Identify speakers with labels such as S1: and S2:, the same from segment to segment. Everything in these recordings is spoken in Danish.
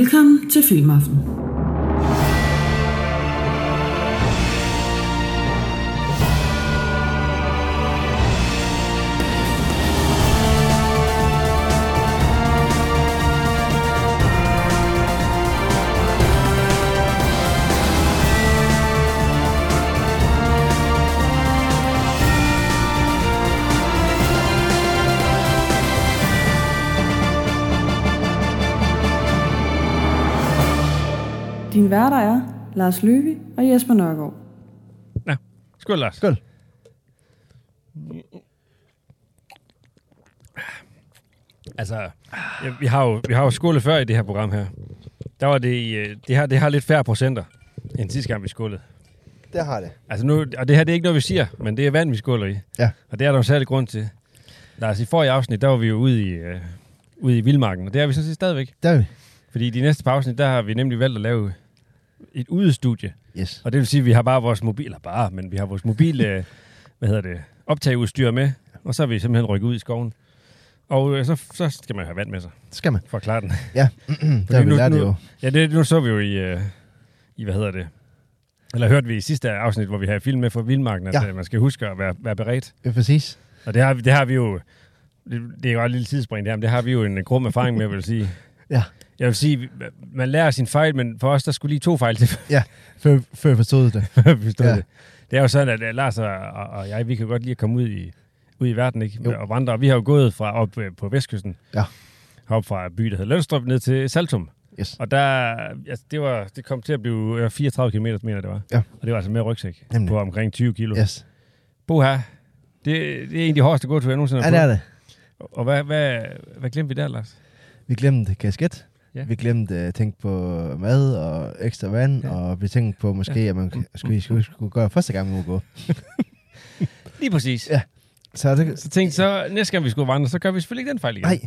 S1: Velkommen til Filmaften.
S2: Din værter er Lars Løvi og Jesper Nørgaard.
S3: Ja. Skål, Lars.
S4: Skål.
S3: Altså, ja, vi har jo, vi har jo skålet før i det her program her. Der var det, i, øh, det, her, det har lidt færre procenter, end sidste gang vi skålede.
S4: Det har det.
S3: Altså nu, og det her det er ikke noget, vi siger, men det er vand, vi skåler i.
S4: Ja.
S3: Og det er der jo særlig grund til. Lars, i forrige afsnit, der var vi jo ude i, øh, ude i Vildmarken, og det er vi sådan set stadigvæk.
S4: Der er vi.
S3: Fordi de næste par afsnit, der har vi nemlig valgt at lave et udestudie.
S4: Yes.
S3: Og det vil sige, at vi har bare vores mobil, eller bare, men vi har vores mobile, øh, hvad hedder det, optageudstyr med, og så er vi simpelthen rykket ud i skoven. Og øh, så, så skal man have vand med sig,
S4: Skal man.
S3: for at klare den.
S4: Ja, der har vi
S3: nu-
S4: lært det
S3: nu-
S4: jo.
S3: Ja, det, nu så vi jo i, øh, i, hvad hedder det, eller hørte vi i sidste afsnit, hvor vi havde film med fra Vildmarken, at
S4: Ja.
S3: ja. man skal huske at være, være beredt.
S4: Ja, præcis.
S3: Og det har, vi- det har vi jo, det, det er jo bare et lille tidsspring der, men det har vi jo en grum erfaring med, vil jeg sige.
S4: Ja.
S3: Jeg vil sige, man lærer sin fejl, men for os, der skulle lige to fejl til,
S4: Ja, før, før jeg forstod det.
S3: forstå ja.
S4: Ja.
S3: det. Det er jo sådan, at øh, Lars og, og, og jeg, vi kan godt lide at komme ud i, ud i verden ikke?
S4: Jo.
S3: og vandre. Vi har jo gået fra op øh, på Vestkysten,
S4: Ja.
S3: op fra by, der hedder Lønstrup, ned til Saltum.
S4: Yes.
S3: Og der, altså, det, var, det kom til at blive øh, 34 km, mener jeg, det var.
S4: Ja.
S3: Og det var altså med rygsæk
S4: Nemlig.
S3: på omkring 20 kilo.
S4: Yes.
S3: Bo her. Det, det er en af de hårdeste gåture, jeg nogensinde har
S4: Ja, det er
S3: fået.
S4: det.
S3: Og hvad, hvad, hvad glemte vi der, Lars?
S4: Vi glemte kasket.
S3: Ja.
S4: Ja. Vi glemte at tænke på mad og ekstra vand,
S3: Ja.
S4: ja. og vi tænkte på måske, ja. at man skulle, skulle, skulle gøre første gang, man må gå.
S3: Lige præcis.
S4: Ja. Så det,
S3: Så tænkte så, næste gang vi skulle vandre, så gør vi selvfølgelig ikke den fejl igen.
S4: nej,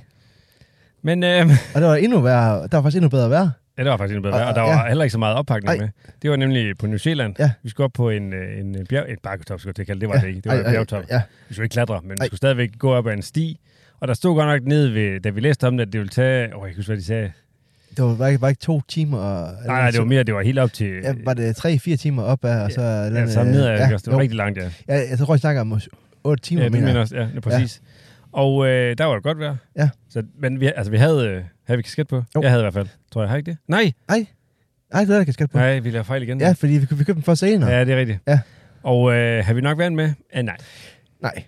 S3: Men øh,
S4: og det var endnu værre. Der var faktisk endnu bedre vejr.
S3: Ja, det var faktisk endnu bedre vejr, og der
S4: Og-
S3: var
S4: ja.
S3: heller ikke så meget oppakning
S4: Ej.
S3: med. Det var nemlig på New Zealand.
S4: Ja.
S3: Vi skulle op på en, øh, en øh, bjerg, et bakketop, skulle jeg til at kalde det. det, var det ikke. Det var
S4: Ej,
S3: en
S4: ej,
S3: bjergtop.
S4: Ja,
S3: Vi skulle ikke klatre, men vi
S4: Ej.
S3: skulle stadigvæk gå op ad en sti. Og der stod godt nok nede ved, da vi læste om det, at det ville tage, åh, jeg kan ikke huske, hvad de sagde.
S4: det var bare ikke, bare ikke to timer. Og,
S3: Nej, nej, det var mere, det var helt op til,
S4: Ja, var det tre-fire timer op af, og så... øh,
S3: ja, sammen ned ad, ja, det var
S4: jo.
S3: rigtig langt, ja.
S4: Ja, jeg tror, jeg snakker om otte timer,
S3: ja, det
S4: mener
S3: mener
S4: jeg.
S3: også, ja, ja, præcis. Og øh, der var det godt vejr.
S4: Ja.
S3: Så, men vi, altså, vi havde, øh, havde vi kasket på?
S4: Jo.
S3: Jeg havde i hvert fald, tror jeg. Har jeg ikke det? Nej,
S4: Nej, det er der kasket på.
S3: nej, vi lavede fejl igen.
S4: Ja, fordi vi, køb- vi købte dem for senere. Ja.
S3: ja det er rigtigt.
S4: Ja.
S3: Og øh, har vi nok vand med? Ah, nej.
S4: Nej,
S3: Jeg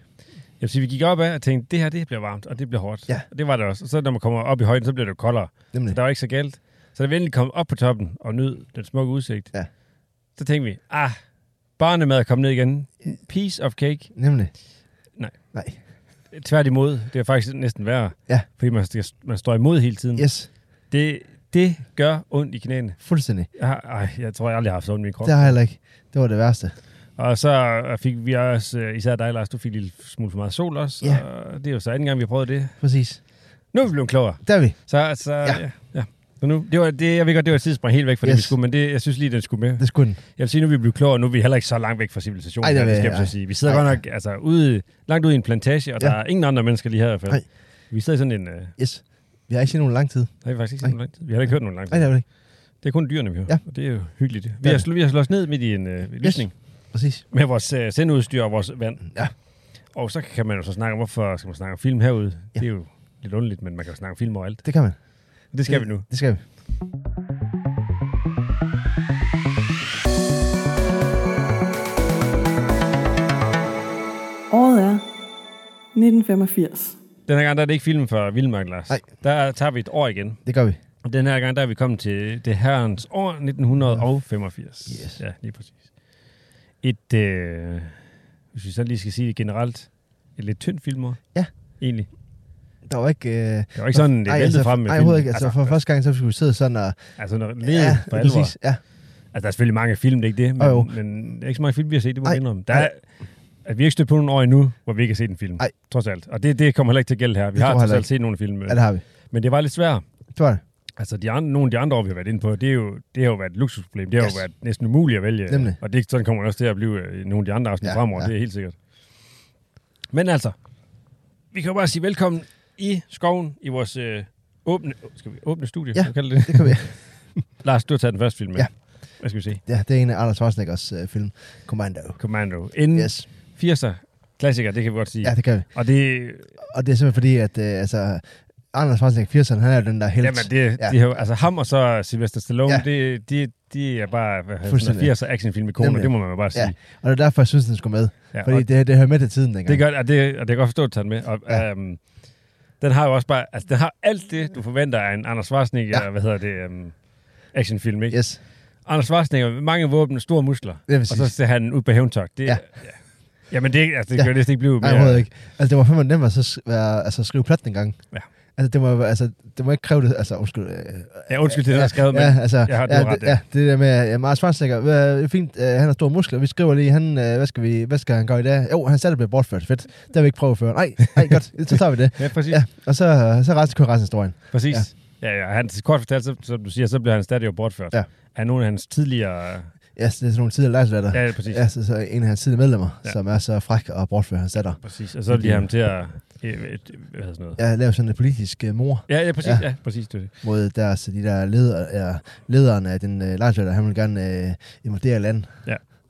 S3: vil sige, vi gik op af og tænkte, det her det bliver varmt, og det bliver hårdt.
S4: Ja.
S3: Og det var det også. Og så når man kommer op i højden, så bliver det jo koldere.
S4: nemlig.
S3: Så der var ikke så galt. Så da vi endelig kom op på toppen og nød den smukke udsigt,
S4: Ja.
S3: så tænkte vi, ah, barnemad er kommet ned igen. Piece of cake.
S4: Nemlig.
S3: Nej.
S4: Nej.
S3: Tværtimod, det er faktisk næsten værre.
S4: Ja.
S3: Fordi man, skal- man står imod hele tiden.
S4: Yes,
S3: Det, det gør ondt i knæene.
S4: fuldstændig.
S3: Jeg, har, ej, jeg tror, jeg aldrig har haft så ondt i min krop.
S4: Det har jeg heller ikke. Det var det værste.
S3: Og så fik vi også, øh, især dig, Lars, du fik en lille smule for meget sol også.
S4: Ja.
S3: Og det er jo så anden gang, vi har prøvet det.
S4: Præcis.
S3: Nu er vi blevet klogere.
S4: Der er vi.
S3: Så, altså, ja.
S4: Ja.
S3: ja. ja. Så nu, det var, det, jeg ved godt, det var et tidsspring helt væk fra yes. det,
S4: Yes.
S3: vi skulle, men det, jeg synes lige, den skulle med.
S4: Det skulle den.
S3: Jeg vil sige, nu er vi blevet klogere, nu er vi heller ikke så langt væk fra civilisationen.
S4: Ej, det
S3: her,
S4: vil
S3: skal
S4: jeg-
S3: jeg så
S4: ej.
S3: sige. Vi sidder
S4: Ej.
S3: godt nok altså, ude, langt ude i en plantage, og
S4: Ja.
S3: der er ingen andre mennesker lige her i hvert fald.
S4: Ej.
S3: Vi sidder i sådan en... Øh, nej,
S4: Yes. Vi har ikke set nogen lang tid.
S3: vi har faktisk ikke
S4: Ej.
S3: set nogen lang tid. Vi har heller ikke hørt nogen lang
S4: Nej,
S3: tid.
S4: det har vi ikke.
S3: Det er kun dyrene, vi hører.
S4: Ja.
S3: Og det er jo hyggeligt. Vi
S4: er
S3: har,
S4: det.
S3: slå, vi har slået os ned midt i en øh, lysning
S4: Præcis.
S3: med vores øh, sendudstyr og vores vand.
S4: Ja.
S3: Og så kan man jo så snakke om, hvorfor skal man snakke om film herude?
S4: Ja.
S3: Det er jo lidt underligt, men man kan jo snakke om film overalt.
S4: Det kan man.
S3: Det skal vi nu.
S4: Det skal vi.
S2: Året er 1985.
S3: Den her gang, der er det ikke filmen for Vildmark, Lars.
S4: Nej.
S3: Der tager vi et år igen.
S4: Det gør vi.
S3: Og den her gang, der er vi kommet til det herrens år 1985.
S4: Yes.
S3: Ja, lige præcis. Et, øh, hvis vi så lige skal sige det generelt, et lidt tyndt filmår.
S4: Ja.
S3: Egentlig.
S4: Der var ikke... Øh...
S3: Det var ikke sådan, det væltede
S4: altså,
S3: frem med
S4: ej,
S3: filmen.
S4: overhovedet ikke. Altså, for første gang, så skulle vi sidde sådan og...
S3: altså når ledet ja, for alvor.
S4: præcis.
S3: Altså,
S4: Ja,
S3: der er selvfølgelig mange film, det er ikke det. Men,
S4: Jo, jo.
S3: men der er ikke så mange film, vi har set, det må
S4: Ej,
S3: vi indrømme. Der er, at vi ikke stødt på nogle år endnu, hvor vi ikke har set en film.
S4: Ej.
S3: Trods alt. Og det, det kommer heller ikke til at gælde her. Vi
S4: Det
S3: har
S4: tror jeg
S3: trods
S4: heller
S3: alt
S4: ikke.
S3: set nogle film. øh,
S4: ja det har vi.
S3: Men det var lidt svært.
S4: Det var det.
S3: Altså, de andre, nogle af de andre år, vi har været inde på, det, er jo, det har jo været et luksusproblem. Det har yes.
S4: Yes.
S3: jo været næsten umuligt at vælge.
S4: Nemlig.
S3: Og det, sådan kommer det også til at blive øh, i nogle af de andre afsnit ja,
S4: Ja,
S3: fremover, ja.
S4: ja.
S3: det er helt sikkert. Men altså, vi kan jo bare sige velkommen i skoven, i vores øh, Åbne, skal vi åbne studie?
S4: Ja.
S3: Kan vi kalde det?
S4: Det kan vi.
S3: Lars, du har taget den første film med.
S4: Ja.
S3: Hvad skal vi se?
S4: Ja, det er en af Arnold Schwarzeneggers øh, film. Commando.
S3: Commando. Inden
S4: Yes.
S3: 80'er klassiker, det kan vi godt sige.
S4: Ja, det kan vi.
S3: Og det,
S4: Og det er simpelthen fordi, at øh, altså, Arnold Schwarzenegger i 80'erne, han er jo den der helt...
S3: jamen, det,
S4: Ja.
S3: ja. de har, altså ham og så Sylvester Stallone,
S4: Ja.
S3: ja. det, de, de er bare hvad hedder sådan
S4: Fuldstændig.
S3: noget, 80'er actionfilm ikoner,
S4: Nemlig.
S3: det må man jo bare sige.
S4: Ja, og det er derfor, jeg synes, den skulle med.
S3: Ja,
S4: Fordi
S3: og
S4: det, det hører med til tiden dengang.
S3: det, gør, og det, og det kan jeg godt forstå, at du tager den med. Og,
S4: Ja.
S3: ja. øhm, den har jo også bare, altså den har alt det, du forventer af en Anders Schwarzenegger,
S4: Ja.
S3: ja. hvad hedder det, øhm, actionfilm, ikke?
S4: Yes,
S3: Anders Schwarzenegger, mange våben, store muskler.
S4: det er
S3: Og så
S4: præcis.
S3: ser han ud på hævntagt. Det,
S4: Ja.
S3: ja. ja. Jamen, det, altså, det kan
S4: Ja.
S3: jo næsten ikke blive
S4: Nej,
S3: mere.
S4: overhovedet ikke. Altså, det var fandme nemt at, så s- være, altså, skrive plot dengang.
S3: Ja.
S4: Altså, det må, jo være- altså, det må ikke kræve det. Altså, undskyld. Øh,
S3: Ja, undskyld til det, der er skrevet, men
S4: ja, altså,
S3: jeg har- du
S4: ja,
S3: har ret,
S4: det, ja, det der med, ja, Mars Schwarzenegger, hvad- det er fint, øh, han har store muskler, vi skriver lige, han, øh, hvad, skal vi, hvad skal han gøre i dag? Jo, han selv bliver bortført, fedt, det har vi ikke prøvet før. Nej, nej, godt, så tager vi det.
S3: Ja, præcis.
S4: Ja,
S3: Ja.
S4: og så, øh, så resten kører resten af historien.
S3: præcis. Ja. ja, ja. Han, kort fortalt, så, som du siger, så bliver han stadig jo bortført.
S4: Ja.
S3: Af nogle af hans tidligere...
S4: Ja, yes, det er sådan nogle tidligere lejselatter.
S3: Ja, præcis.
S4: Ja, så, så en af hans tidligere medlemmer, ja.
S3: Ja.
S4: som er så fræk og bortfører hans datter.
S3: Præcis. Og så vil de have ham til at... øh, øh, Hvad hedder sådan noget?
S4: Ja, laver sådan en politisk øh, mor
S3: Ja, ja, præcis.
S4: Ja.
S3: Ja, ja præcis. Det er det.
S4: mod deres, de der leder, ja, lederen af den øh, lejselatter, han vil gerne øh, invadere land.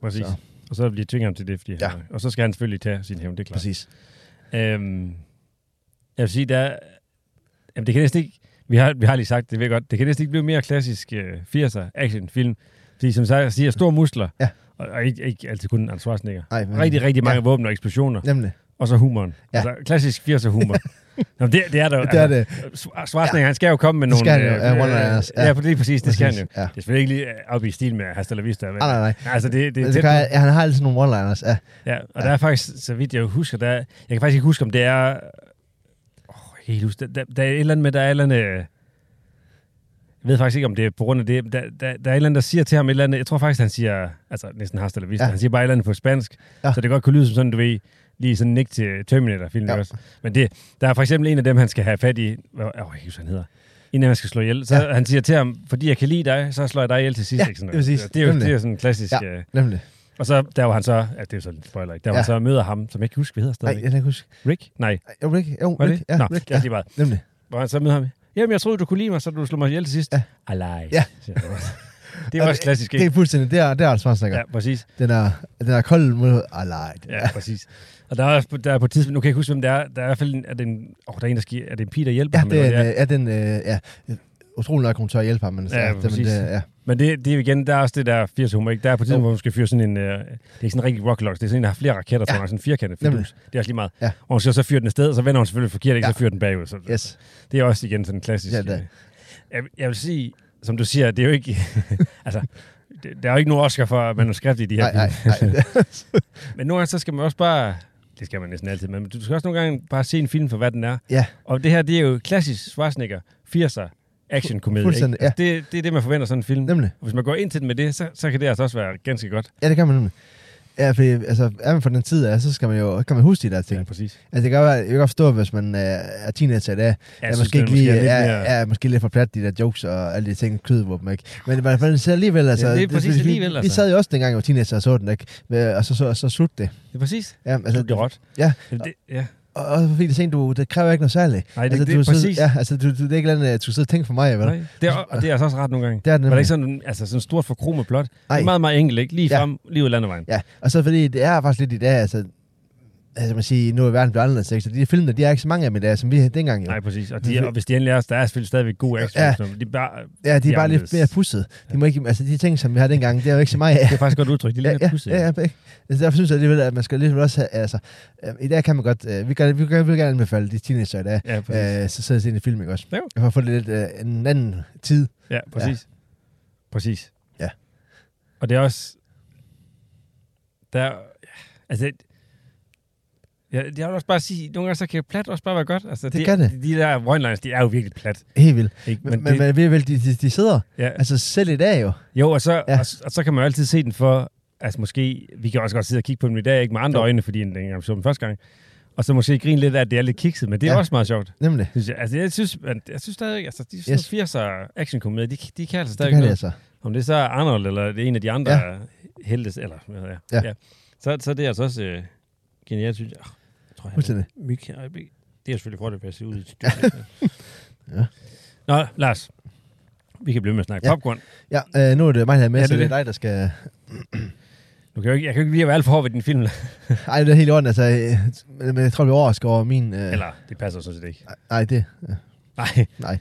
S3: Præcis.
S4: Så.
S3: Så. Og så vil de tvinge ham til det, fordi
S4: Ja.
S3: ja. han, Og så skal han selvfølgelig tage sin hævn, det er klart.
S4: Præcis.
S3: Øhm, jeg vil sige, der, er- jamen det kan næsten ikke, vi har, vi har lige sagt, det ved jeg godt, det kan næsten ikke blive mere klassisk øh, 80'er actionfilm, fordi som sagt, jeg siger, store muskler,
S4: Ja.
S3: og, og ikke, ikke altid kun Arnold Schwarzenegger.
S4: Nej, men-
S3: Rigtig, rigtig mange
S4: Ja.
S3: ja. våben og eksplosioner,
S4: Nemlig.
S3: og så humoren.
S4: Ja.
S3: Ja. Altså, klassisk 80'er humor. Jamen, det, det er der jo. altså-
S4: Det er det.
S3: Schwarzenegger, han skal jo komme med
S4: Det
S3: nogle... øh,
S4: skal han jo. Ja, one-liners. Ja.
S3: ja, for det er præcis, det skal han jo.
S4: Præcis, ja.
S3: Det er selvfølgelig ikke lige øh, op i stil med Hasta la Vista. Men,
S4: Nej, nej, nej.
S3: Altså, det, det er
S4: Det
S3: tæt
S4: kan,
S3: på.
S4: jeg- ja, han har altid nogle one-liners. Ja,
S3: Ja, og ja. der er faktisk, så vidt jeg husker, der, jeg kan faktisk ikke huske, om det er... Åh, jeg kan ikke huske, der, der, der er et eller andet med, der er et eller andet... øh, Jeg ved faktisk ikke, om det er på grund af det. Der, der, der er et eller andet, der siger til ham et eller andet... Jeg tror faktisk, han siger... Altså, næsten har eller vist,
S4: Ja.
S3: ja. Han siger bare et eller andet på spansk.
S4: Ja.
S3: Ja. Så det godt kunne lyde som sådan, du ved... Lige sådan en nik til Terminator-filmen
S4: Ja.
S3: ja. også. Men det, der er for eksempel en af dem, han skal have fat i... Hvad, åh, jeg kan ikke huske, hvad han hedder. En af dem, han skal slå ihjel. Så
S4: Ja.
S3: ja. han siger til ham, fordi jeg kan lide dig, så slår jeg dig ihjel til sidst.
S4: Ja,
S3: ikke? Sådan
S4: det er præcis.
S3: noget. det er jo
S4: Nemlig.
S3: det er jo sådan en klassisk...
S4: Ja.
S3: Øh,
S4: nemlig.
S3: og så, der var han så, ja, det er jo sådan en spoiler, ikke? Der var
S4: Ja.
S3: ja. så møder ham, som jeg ikke kan huske, hvad hedder
S4: Nej,
S3: stadigvæk.
S4: jeg kan ikke huske.
S3: Rick? Nej,
S4: Jo, Rick. Jo,
S3: var
S4: Rick.
S3: det?
S4: Ja,
S3: Nå,
S4: Rick.
S3: ja.
S4: Ja,
S3: lige meget.
S4: nemlig.
S3: Hvor han så møder ham. Jamen, jeg troede, du kunne lide mig, så du slog mig ihjel til sidst.
S4: Ja.
S3: Alive.
S4: Ja.
S3: siger han også. det var også klassisk,
S4: Det
S3: ikke?
S4: er fuldstændig, det er, det er Arnold Schwarzenegger.
S3: Ja, præcis.
S4: Den er, den er kold mod Ah, Alight.
S3: Ja, præcis. Og der er, også, der er på et tidspunkt, nu kan jeg ikke huske, hvem det er, der er i hvert fald en, er det en, oh, der er en, der sker, er det en pige, der hjælper
S4: Ja,
S3: ham?
S4: det er,
S3: eller
S4: en,
S3: hvad
S4: øh, ja, den, øh, ja, utrolig nok, hun tør hjælpe ham, men altså,
S3: Ja,
S4: ja, det, men
S3: præcis.
S4: det, ja.
S3: Men det, det er jo igen, der er også det der 80 humor, ikke? Der er på et
S4: Jo.
S3: tidspunkt, hvor hun skal fyre sådan en, øh, det er ikke sådan en rigtig rocket launch, det er sådan en, der har flere raketter,
S4: Ja.
S3: ja. sådan en firkantet
S4: Nemlig.
S3: fidus. Det er også lige meget.
S4: Ja.
S3: Og hun skal så fyre den afsted, og så vender hun selvfølgelig forkert, ikke?
S4: Ja.
S3: Så fyrer den bagud. Så,
S4: Yes.
S3: Det er også igen sådan en klassisk...
S4: Ja,
S3: Ja,
S4: det er.
S3: jeg, jeg vil sige, som du siger, det er jo ikke... altså, det, der er jo ikke nogen Oscar for manuskript i de her
S4: Nej, nej,
S3: film.
S4: nej.
S3: Men nogle gange, så skal man også bare... Det skal man næsten altid, men du skal også nogle gange bare se en film for, hvad den er.
S4: Ja,
S3: Og det her, det er jo klassisk Schwarzenegger, 80'er, actionkomedie. ikke?
S4: Fuldstændig, ja.
S3: Altså, det, det er det, man forventer af sådan en film.
S4: nemlig.
S3: Og hvis man går ind til den med det, så, så kan det altså også være ganske godt.
S4: Ja, det kan man nemlig. Ja, fordi, altså, er man fra den tid af, så skal man jo kan man huske de der ting.
S3: Ja, præcis.
S4: Altså, det kan godt være, jeg kan godt forstå, hvis man øh, er teenager i dag,
S3: Ja,
S4: Ja,
S3: jeg
S4: måske
S3: den
S4: ikke lige,
S3: er lidt
S4: ja,
S3: mere-
S4: ja, måske lidt for plat, de der jokes og alle de ting, kødvåben, ikke? Men man, man ser alligevel, altså...
S3: Ja, det er præcis
S4: vi-
S3: alligevel,
S4: Vi
S3: altså.
S4: sad jo også dengang, jeg var teenager og så den, ikke? Med- Og så, så, så slutte det.
S3: Det er præcis.
S4: Ja, altså,
S3: Altså, det er råt.
S4: Ja.
S3: Jamen, Det, ja.
S4: og også fordi det ting, du, det kræver ikke noget særligt.
S3: Nej, det-
S4: altså,
S3: det-
S4: du, sidder-
S3: præcis.
S4: Ja, altså, du, du, det er ikke noget, at du sidder og tænker for mig, vel?
S3: Nej, det er, og det er altså også ret nogle gange.
S4: Det er det
S3: Men det er
S4: nemlig.
S3: ikke sådan, altså, sådan stort forkromet blot. Det
S4: Nej.
S3: er meget, meget enkelt, ikke? Lige
S4: Ja.
S3: frem, lige ud af landevejen.
S4: Ja, og så fordi det er faktisk lidt i dag, altså... Altså, man siger, nu er verden blevet anderledes, ikke? Så de film, der, de er ikke så mange af dem i dag, som vi havde dengang, jo.
S3: Nej, præcis. Og, de, og hvis de endelig er, der er selvfølgelig stadigvæk god action.
S4: Ja.
S3: Ja. De er bare,
S4: ja, de er
S3: de er
S4: bare lidt
S3: anderledes.
S4: mere pusset. De, må ikke, altså, de ting, som vi har dengang, det er jo ikke så meget af.
S3: det er faktisk et godt udtryk. De er lidt
S4: ja,
S3: mere pudsige.
S4: ja, ja, ikke? altså, derfor synes jeg alligevel, at man skal alligevel også have, altså, øh, i dag kan man godt, øh, vi, kan, vi kan, vi kan gerne anbefale de teenager i dag,
S3: ja, præcis.
S4: øh, så sidder jeg en film, ikke også?
S3: Jo.
S4: For at få det lidt øh, en anden tid.
S3: Ja, præcis. Præcis.
S4: Ja.
S3: Og det er også... Der, ja, altså, det- Ja, jeg vil også bare sige, nogle gange så kan plat også bare være godt. Altså,
S4: Det
S3: de,
S4: kan det.
S3: De der one-liners, de er jo virkelig plat.
S4: Helt vildt.
S3: Ikke?
S4: Men, men, men, men, men de, de, de sidder,
S3: ja.
S4: altså selv i dag jo.
S3: Jo, og så,
S4: Ja.
S3: ja. og, s- og så kan man jo altid se den for, altså måske, vi kan også godt sidde og kigge på den i dag, ikke med andre
S4: Jo.
S3: jo. øjne, fordi den dengang vi så den første gang, og så måske grine lidt af, at det er lidt kikset, men det er
S4: Ja.
S3: ja. også meget sjovt.
S4: Nemlig.
S3: Synes jeg. Altså, jeg synes, man, jeg synes stadig, altså, de sådan
S4: Yes.
S3: yes. 80'er actionkomedier, de, de kan altså
S4: Det
S3: stadig
S4: kan det
S3: noget.
S4: altså.
S3: Om det så er Arnold, eller det er en af de andre ja. heldes, eller hvad hedder jeg?
S4: Ja.
S3: Så, så det er altså også øh, genialt, synes jeg. Oh, jeg tror, jeg
S4: Fuldstændig.
S3: myg her i øjeblikket. Det er selvfølgelig godt, at jeg ser ud i studiet.
S4: Ja.
S3: Nå, Lars. Vi kan blive med at snakke
S4: Ja.
S3: ja. popcorn.
S4: Ja, øh, nu er det mig, der er med,
S3: Ja, det
S4: ja, det så
S3: er
S4: det er
S3: det.
S4: dig, der skal...
S3: Nu kan jeg, jo ikke, jeg kan jo ikke lige være alt for hård ved din film.
S4: Ej, det er helt i orden, altså. øh, Men jeg tror, vi overrasker over min... Øh...
S3: Eller, det passer sådan set ikke.
S4: Nej, det... øh,
S3: Nej.
S4: Nej.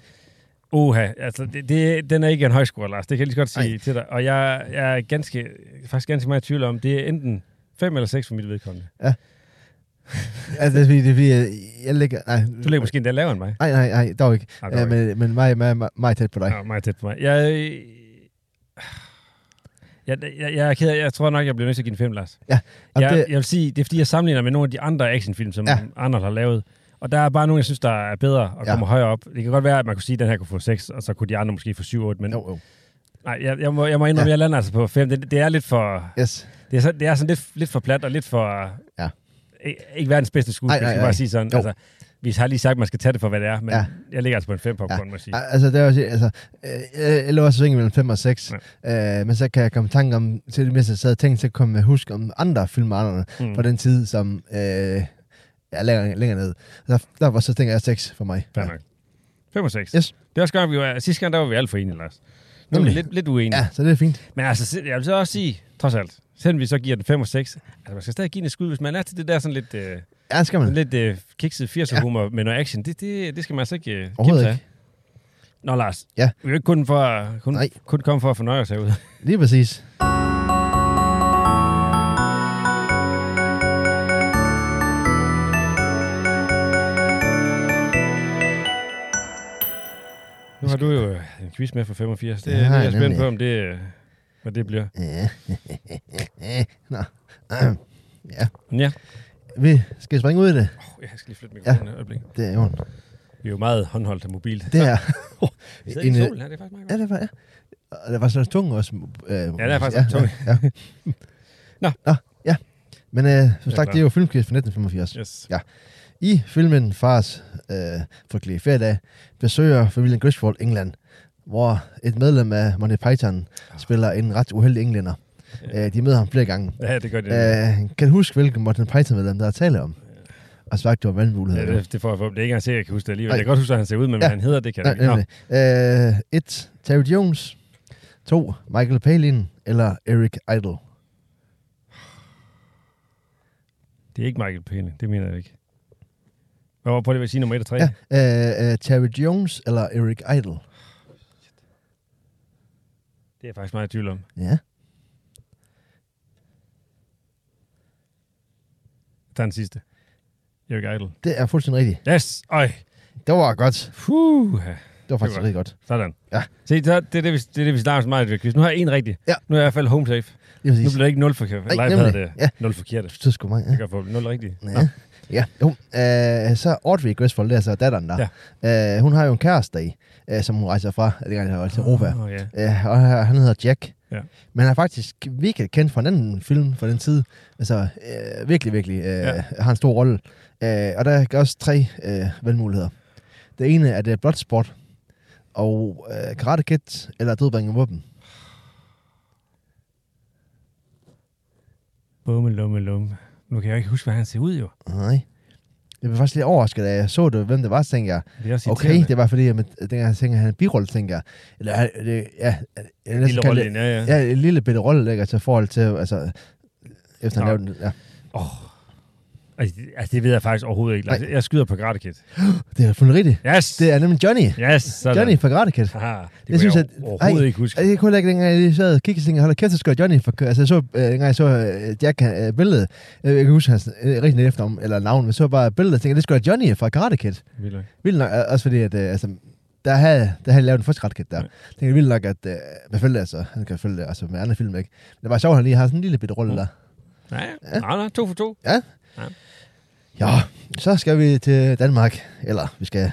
S3: Oha, altså, det, det, den er ikke en højskole, Lars. Det kan jeg lige så godt sige
S4: Nej.
S3: Ej. til dig. Og jeg, jeg er ganske, faktisk ganske meget i tvivl om, det er enten 5 eller 6 for mit vedkommende.
S4: Altså, det er fordi, det er, fordi øh, jeg ligger... Nej,
S3: Du ligger måske endda lavere end mig.
S4: Nej, nej, nej, dog ikke.
S3: Nej, dog
S4: Øh, men, men mig, mig, mig, mig er tæt på dig.
S3: Ja, meget tæt på mig. Jeg, jeg, jeg, jeg, er ked af, jeg tror nok, jeg bliver nødt til at give den 5, Lars.
S4: Og
S3: Jeg,
S4: det,
S3: jeg vil sige, det er fordi, jeg sammenligner med nogle af de andre actionfilm, som
S4: Ja.
S3: ja. andre har lavet. Og der er bare nogle, jeg synes, der er bedre og
S4: Ja.
S3: kommer højere op. Det kan godt være, at man kunne sige, at den her kunne få 6, og så kunne de andre måske få 7-8, men
S4: jo, jo.
S3: nej, jeg, jeg, må, jeg må indrømme,
S4: Ja.
S3: ja. jeg lander altså på 5. Det, det er lidt for...
S4: Yes.
S3: Det er, så, det er sådan lidt, lidt for plat og lidt for...
S4: Ja.
S3: Ikke, ikke verdens bedste skuespil,
S4: Ej, ej,
S3: skal jeg
S4: ej.
S3: bare sige sådan.
S4: Jo.
S3: Altså, vi har lige sagt, at man skal tage det for, hvad det er, men
S4: Ja.
S3: ja. jeg ligger altså på en 5 popcorn,
S4: Ja.
S3: ja. må jeg sige.
S4: Al- Altså, det er også, altså, øh, jeg- jeg lå også svinge mellem 5 og 6, ja. øh, men så kan jeg komme i tanke om, til det mindste, jeg sad og tænkte, så kom jeg huske om andre film andre mm.
S3: Mm.
S4: fra den tid, som øh, er længere, længere ned. Der, der var så tænker jeg 6 for mig.
S3: Fair nok. 5 og 6.
S4: Yes.
S3: Det er også godt, vi var, sidste gang, der var vi alt for enige, Lars. Nu er vi
S4: Nemlig.
S3: lidt, lidt uenige.
S4: Ja,
S3: Ja.
S4: så det er fint.
S3: Men altså, se- jeg vil så også sige, trods alt, selvom vi så giver den 5 og 6, altså man skal stadig give den et skud, hvis man er til det der sådan lidt, øh,
S4: Ja, skal man.
S3: sådan lidt øh, kikset 80'er humor med noget action. Det, det, det skal man altså ikke øh,
S4: Overhovedet
S3: kimse af.
S4: ikke.
S3: Nå, Lars.
S4: Ja.
S3: Vi er jo ikke kun, for, at- kun,
S4: Nej.
S3: kun komme for at fornøje os herude.
S4: Lige præcis.
S3: Nu har du jo øh, en quiz med for 85. Det,
S4: Ja,
S3: ja, det er jeg
S4: nemlig.
S3: spændt på, om det, øh, hvad det bliver.
S4: Ja. Nå.
S3: Men ja,
S4: Vi skal springe ud i det.
S3: oh, jeg skal lige flytte mikrofonen ja. et øjeblik.
S4: Det er jo
S3: Vi er jo meget håndholdt og mobilt.
S4: Det er...
S3: Vi sidder i
S4: en, øh,
S3: solen her, det er faktisk meget godt.
S4: Ja, det var, ja. Og der var sådan noget tung også. Øh, ja,
S3: der er faktisk tung.
S4: Ja, ja.
S3: Nå.
S4: Nå, ja. Men øh, som
S3: Ja,
S4: sagt,
S3: klar.
S4: det er jo filmquiz fra 1985. Ja.
S3: Yes.
S4: I filmen Fars øh, frygtelige feriedag besøger familien Griswold England, hvor et medlem af Monty Python spiller en ret uheldig englænder.
S3: Ah. Ja.
S4: Øh, de møder ham flere gange.
S3: Ja, det gør det. Ja,
S4: Øh, kan du huske, hvilken Monty Python-medlem, der er tale om? Og svaret, det var valgmuligheder.
S3: det, det får jeg for. Det er ikke engang sikkert, jeg kan huske det alligevel.
S4: Nej.
S3: Jeg kan godt huske, at han ser ud, men
S4: Ja.
S3: ja. han hedder det, kan jeg
S4: Nej,
S3: ikke. Nå,
S4: nemlig. Øh, et, Terry Jones. To, Michael Palin. Eller Eric Idle.
S3: det er ikke Michael Payne. Det mener jeg ikke. Hvad var på det, vil sige nummer 1 og 3?
S4: Ja, øh, øh, Terry Jones eller Eric Idle.
S3: Det er jeg faktisk meget i tvivl om.
S4: Ja,
S3: Der er den sidste. Erik Idle.
S4: det er fuldstændig rigtigt.
S3: Yes! Øj!
S4: Det var godt.
S3: Puh!
S4: Det var faktisk
S3: Det var-
S4: rigtig godt.
S3: Sådan.
S4: Ja.
S3: Se, så, det, er det, vi, det er det, vi snakker så meget i det quiz. Nu har jeg en rigtig.
S4: Ja.
S3: Nu er jeg i hvert fald home safe.
S4: Lige
S3: Nu
S4: præcis.
S3: bliver det ikke 0 for kæft. Nej,
S4: nemlig.
S3: hvad det?
S4: Ja.
S3: Ja. 0 forkerte.
S4: Det er sgu mange,
S3: Det
S4: ja.
S3: gør for 0 rigtigt. Nå.
S4: Ja. ja. Jo, øh, så Audrey Griswold, det er så datteren der. Ja. Øh, hun har jo en kæreste i, øh, som hun rejser fra, det gang, til Europa.
S3: Åh, ja.
S4: Øh, og han- han hedder Jack.
S3: Ja.
S4: Men han er faktisk virkelig kendt fra en anden film fra den tid. Altså, øh, virkelig, virkelig øh, ja.
S3: Ja.
S4: har en stor rolle. Øh, og der er også tre øh, valgmuligheder. Det ene er det er Bloodsport, og øh, Karate Kid, eller Dødbring af våben.
S3: Bumme, lumme, lumme. Nu kan jeg jo ikke huske, hvad han ser ud, jo.
S4: Nej. Jeg blev faktisk lidt overrasket, da jeg så det, hvem det var, så tænkte jeg,
S3: Det er også
S4: okay, det var fordi, at med- dengang jeg tænker, at han er en birolle, tænker jeg, eller er det, ja, er det- jeg vil næsten
S3: Lille
S4: kalde
S3: rolle,
S4: det,
S3: ja, ja.
S4: ja, en lille bitte rolle, ikke, altså i forhold til, altså, efter han
S3: Nå.
S4: lavede den, ja,
S3: Altså, det- altså, det ved jeg faktisk overhovedet ikke. Lars.
S4: Nej.
S3: Jeg skyder på Karate Kid.
S4: det er fuldt rigtigt.
S3: Yes!
S4: Det er nemlig Johnny.
S3: Yes, sådan.
S4: Johnny fra Karate Kid.
S3: Aha, det,
S4: Det
S3: det
S4: synes
S3: synes jeg
S4: jeg-
S3: overhovedet
S4: Ej.
S3: ikke huske.
S4: Jeg kan heller ikke dengang, jeg lige sad og kiggede, tænkte, jeg, hold da kæft, så skal Johnny for, altså jeg så, øh, dengang jeg så øh, Jack øh, billedet, øh, jeg kan huske hans øh, rigtig efter om, eller navn, men så bare billedet, og tænkte, jeg, det skulle være Johnny fra Karate Kid.
S3: Vildt nok.
S4: Vildt nok, øh, også fordi, at, øh, altså, der havde, der havde han lavet den første Karate Kid der.
S3: Ja.
S4: Ja. Tænkte jeg vildt nok, at øh, man følte altså, han kan følge det, altså med andre film, ikke? Men det var sjovt, at han lige har sådan en lille bitte rolle
S3: Mm.
S4: der.
S3: Nej, ja. nej, nej, to for to.
S4: Ja, så skal vi til Danmark, eller vi skal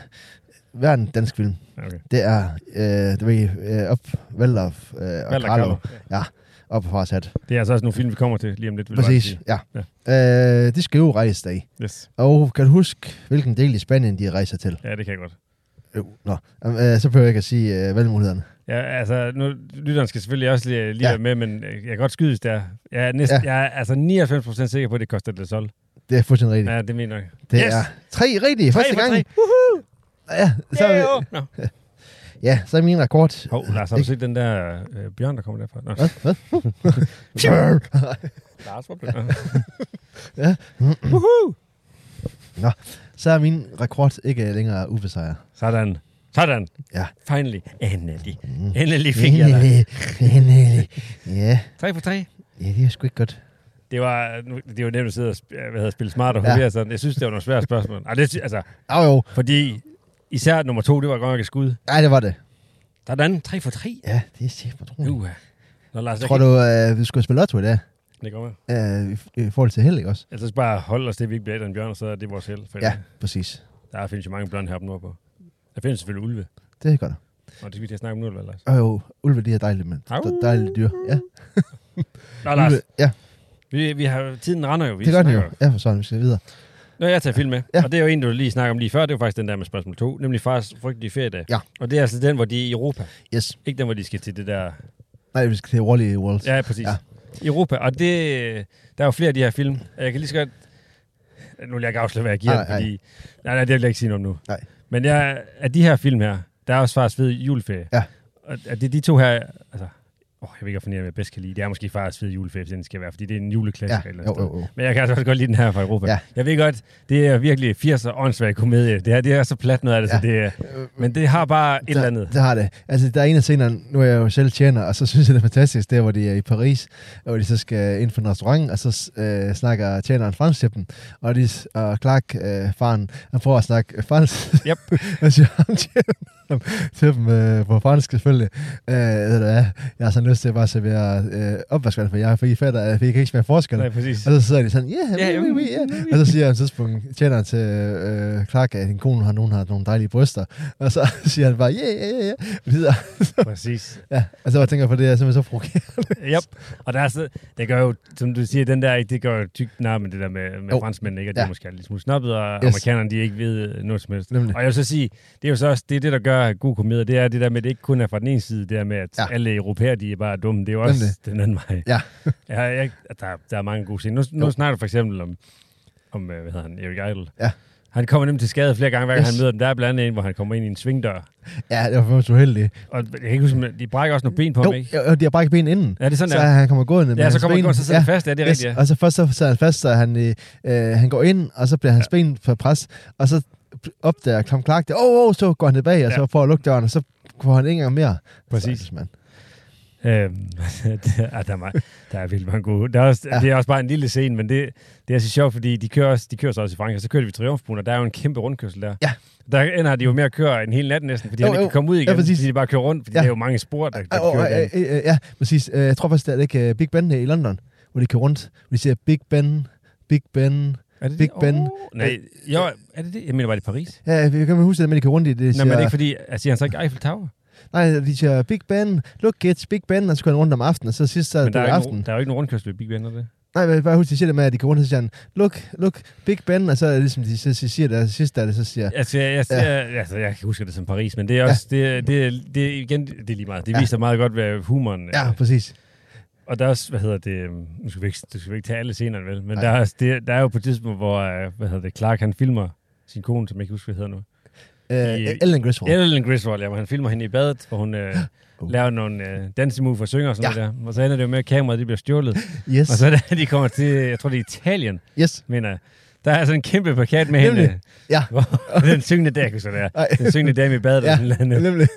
S4: være en dansk film.
S3: Okay.
S4: Det er, øh, du ved, øh, op, Valdorf øh, og
S3: Valder
S4: Karlo,
S3: Karlo.
S4: op fra sat.
S3: Det er altså også nogle film, vi kommer til lige om lidt. vil jeg bare
S4: Præcis,
S3: sige.
S4: ja. ja. Øh, de skal jo rejse dag.
S3: Yes.
S4: Og kan du huske, hvilken del i Spanien de rejser til?
S3: Ja, det kan jeg godt.
S4: Jo, nå. Øh, så behøver jeg ikke at sige øh, valgmulighederne.
S3: Ja, altså, nu, lytteren skal selvfølgelig også lige, lige ja.
S4: Ja.
S3: være med, men øh, jeg kan godt skydes der. Jeg er, næsten,
S4: Ja.
S3: ja. jeg er altså 99% sikker på, at det koster det sol.
S4: Det er fuldstændig rigtigt. Ja,
S3: Ja, det mener jeg.
S4: det
S3: yes.
S4: er tre rigtige første
S3: for
S4: gang.
S3: tre.
S4: Ja, så,
S3: Så,
S4: er vi-
S3: Nå.
S4: Ja, så er min rekord.
S3: Hov, Lars, har du set den der øh, bjørn, der kommer derfra? Nå,
S4: Hvad? Hvad?
S3: Lars, hvor blev den?
S4: så er min rekord ikke længere ubesejret.
S3: Sådan. Sådan.
S4: Ja.
S3: Finally. Endelig. Endelig fik jeg dig.
S4: Mm. Endelig, endelig. Ja,
S3: Tre for tre.
S4: ja, det er sgu ikke godt.
S3: Det var, nu- det var nemt at sidde og sp- øh, hvad hedder, spille smart og hurtigere. Ja. Sådan. Jeg synes, det var nogle svære spørgsmål. Ej, det, sy- altså,
S4: Au jo.
S3: fordi især nummer to, det var godt nok et skud.
S4: Nej, det var det.
S3: Sådan. Tre for tre.
S4: Ja, det er sjovt, jeg tror.
S3: Uh. Nå, Lars, jeg
S4: Mm. Tror
S3: kan-
S4: du, øh, vi skulle spille lotto i dag?
S3: Det kommer.
S4: Øh, i- I forhold til held, ikke også?
S3: Ellers skal vi bare holde os til, at vi ikke bliver ældre end bjørn, og så er det vores held. For
S4: Ja,
S3: ellers-
S4: præcis.
S3: Der findes jo mange bjørn heroppe nordpå. Der findes selvfølgelig ulve.
S4: Det er godt.
S3: Og det skal vi til at snakke om nu, eller hvad, Lars?
S4: Au jo, ulve, de er dejlige, men
S3: Au.
S4: de- dejlige dyr. Ja,
S3: Nå, Lars,
S4: ulve, ja
S3: vi, vi har, tiden render jo. Vi
S4: det gør den jo.
S3: snakker
S4: Ja, for sådan, vi skal videre.
S3: Nå, jeg tager film med. Ja.
S4: Ja.
S3: Og det er jo en, du lige snakker om lige før. Det var faktisk den der med spørgsmål 2, nemlig fars frygtelige feriedag.
S4: Ja.
S3: Og det er altså den, hvor de er i Europa.
S4: Yes.
S3: Ikke den, hvor de skal til det der...
S4: Nej, vi skal til Wally World.
S3: Ja, præcis. Ja.
S4: Ja.
S3: Europa. Og det, der er jo flere af de her film. Jeg kan lige så godt... Nu vil jeg ikke afsløre, hvad jeg giver,
S4: Nej,
S3: nej, fordi... Nej, nej, det vil jeg ikke sige noget om nu.
S4: Nej.
S3: Men jeg, af de her film her, der er også fars fede juleferie.
S4: Ja.
S3: Og at det er de to her... Altså, åh, jeg ved ikke, hvad jeg bedst kan lide. Det er måske fars fede juleferie, hvis den skal være, fordi det er en
S4: Ja,
S3: juleklassiker. et eller andet
S4: jo,
S3: sted.
S4: jo, jo.
S3: Men jeg kan altså også godt lide den her fra Europa. Ja.
S4: Ja.
S3: Jeg ved godt, det er virkelig 80'er åndssvag komedie. Det her det er så plat noget af det, ja. så
S4: Ja. Øh,
S3: det er, Men det har bare et eller andet.
S4: Det har det. Altså, der er en af scenerne, nu er jeg jo selv tjener, og så synes jeg, det er fantastisk, der hvor de er i Paris, og hvor de så skal ind på en restaurant, og så øh, snakker tjeneren fransk til dem, og, de, s- og Clark, øh, faren, han prøver at snakke fransk.
S3: Yep.
S4: og siger ham tjeneren til dem øh, på fransk selvfølgelig. Øh, ved du hvad, jeg har sådan lyst til bare at servere øh, opvaskvand, for jeg, for I fatter, for I kan ikke smage forskel.
S3: Nej, præcis.
S4: Og så sidder de sådan, yeah,
S3: Ja,
S4: yeah, oui,
S3: mm,
S4: oui, oui, yeah. Og så siger han på et tidspunkt, tjeneren til øh, Clark, at din kone har nogen, har nogle dejlige bryster. Og så siger han bare, yeah, yeah, yeah, yeah. Videre.
S3: Præcis.
S4: Ja, og så tænker jeg på, det er simpelthen så provokerende.
S3: Yep. Og der er så, det gør jo, som du siger, den der, ikke, det gør jo tykt nær med det der med, med
S4: Jo.
S3: franskmændene, ikke? at de
S4: Ja.
S3: måske er lidt smule snobbet, og yes.
S4: Yes.
S3: amerikanerne, de ikke ved øh, noget som helst.
S4: Nemlig.
S3: Og jeg vil så sige, det er jo så også det, er det der gør god komedie, det er det der med, at det ikke kun er fra den ene side, det der med, at ja.
S4: Ja.
S3: alle europæer, de er bare dumme, det er jo også
S4: Nemlig.
S3: den anden vej.
S4: Ja,
S3: Ja, jeg, der, der er mange gode scener. Nu, nu
S4: Jo.
S3: snakker du for eksempel om, om øh, hvad hedder han, Erik Idle.
S4: Ja.
S3: Han kommer nemlig til skade flere gange, hver gang
S4: Yes.
S3: han møder dem. Der er blandt andet en, hvor han kommer ind i en svingdør.
S4: ja det var faktisk uheldigt.
S3: Og jeg kan ikke huske, men de brækker også nogle ben på
S4: Jo,
S3: ham, ikke?
S4: jo, de har brækket ben inden.
S3: Ja, det er sådan
S4: Så
S3: der.
S4: han kommer gående med
S3: Ja, så
S4: hans
S3: kommer han
S4: ben.
S3: godt, så sidder han fast. Ja, det er rigtigt, ja.
S4: Og så først så sidder han fast, så han, øh, øh, han går ind, og så bliver hans ja. ben for pres, og så opdager Tom Clark det, åh, oh, oh, så går han tilbage, og
S3: Ja.
S4: så får han lukket døren, og så får han ikke engang mere.
S3: Præcis.
S4: Så, mand.
S3: Øhm, der, ah, der, er meget, der er vildt mange gode. Der er også, ja.
S4: Ja.
S3: Det er også bare en lille scene, men det, det er så sjovt, fordi de kører, også, de kører så også i Frankrig, og så kører de ved Triumfbuen, og der er jo en kæmpe rundkørsel der.
S4: Ja.
S3: Der ender de jo med at køre en hel nat næsten, fordi
S4: Jo,
S3: jo, han ikke
S4: jo.
S3: kan komme ud igen, ja,
S4: præcis.
S3: fordi de bare kører rundt, fordi ja.
S4: Ja.
S3: der er jo mange spor, der, der
S4: Åh,
S3: kører
S4: øh,
S3: derinde.
S4: øh, øh, ja, præcis. Øh, Jeg tror faktisk, det er ikke øh, Big Ben i London, hvor de kører rundt, hvor de siger Big Ben, Big Ben.
S3: Er det
S4: Big
S3: det?
S4: Ben.
S3: Åh, nej, jo, er det det? Jeg mener, var det Paris?
S4: Ja, jeg kan huske det, men de kører rundt i det.
S3: Nå,
S4: siger,
S3: men er det ikke fordi, altså, siger han så ikke Eiffel Tower?
S4: Nej, de siger Big Ben, look it, Big Ben, og så kører han rundt om aftenen, og så sidst så er
S3: Men
S4: det
S3: der er, jo ikke,
S4: aften.
S3: nogen- der er jo ikke nogen rundkørsel ved Big Ben, er det?
S4: Nej, men jeg bare husk, de siger det med, at de går rundt, og så siger han, look, look, Big Ben, og så er det ligesom, de så siger det, og sidst er det, så siger
S3: Altså, jeg, jeg, ja. jeg, altså, jeg kan huske det som Paris, men det er også, ja. det, det, det, igen, det er lige meget. Det
S4: Ja.
S3: viser meget godt, hvad humoren
S4: ja, præcis.
S3: Og der er også, hvad hedder det, øhm, nu skal vi ikke, du skal vi ikke tage alle scenerne, vel? Men
S4: Nej.
S3: der er, også, det, der er jo på et tidspunkt, hvor, øh, hvad hedder det, Clark, han filmer sin kone, som jeg ikke husker, hvad hedder nu.
S4: Øh,
S3: I-
S4: Ellen Griswold.
S3: Ellen Griswold, ja, hvor han filmer hende i badet, hvor hun øh,
S4: Oh.
S3: laver nogle øh, dansemove og synger og sådan
S4: Ja.
S3: noget der. Og så ender det jo med, at kameraet det bliver stjålet.
S4: Yes,
S3: Og så da de kommer til, jeg tror det er Italien,
S4: yes.
S3: mener jeg. Der er sådan en kæmpe plakat med hende.
S4: Nemlig.
S3: øh,
S4: Ja.
S3: Hvor, den syngende der, kunne så det er.
S4: Ej.
S3: Den syngende dame i badet.
S4: Ja,
S3: Ja. Eller sådan noget.
S4: nemlig.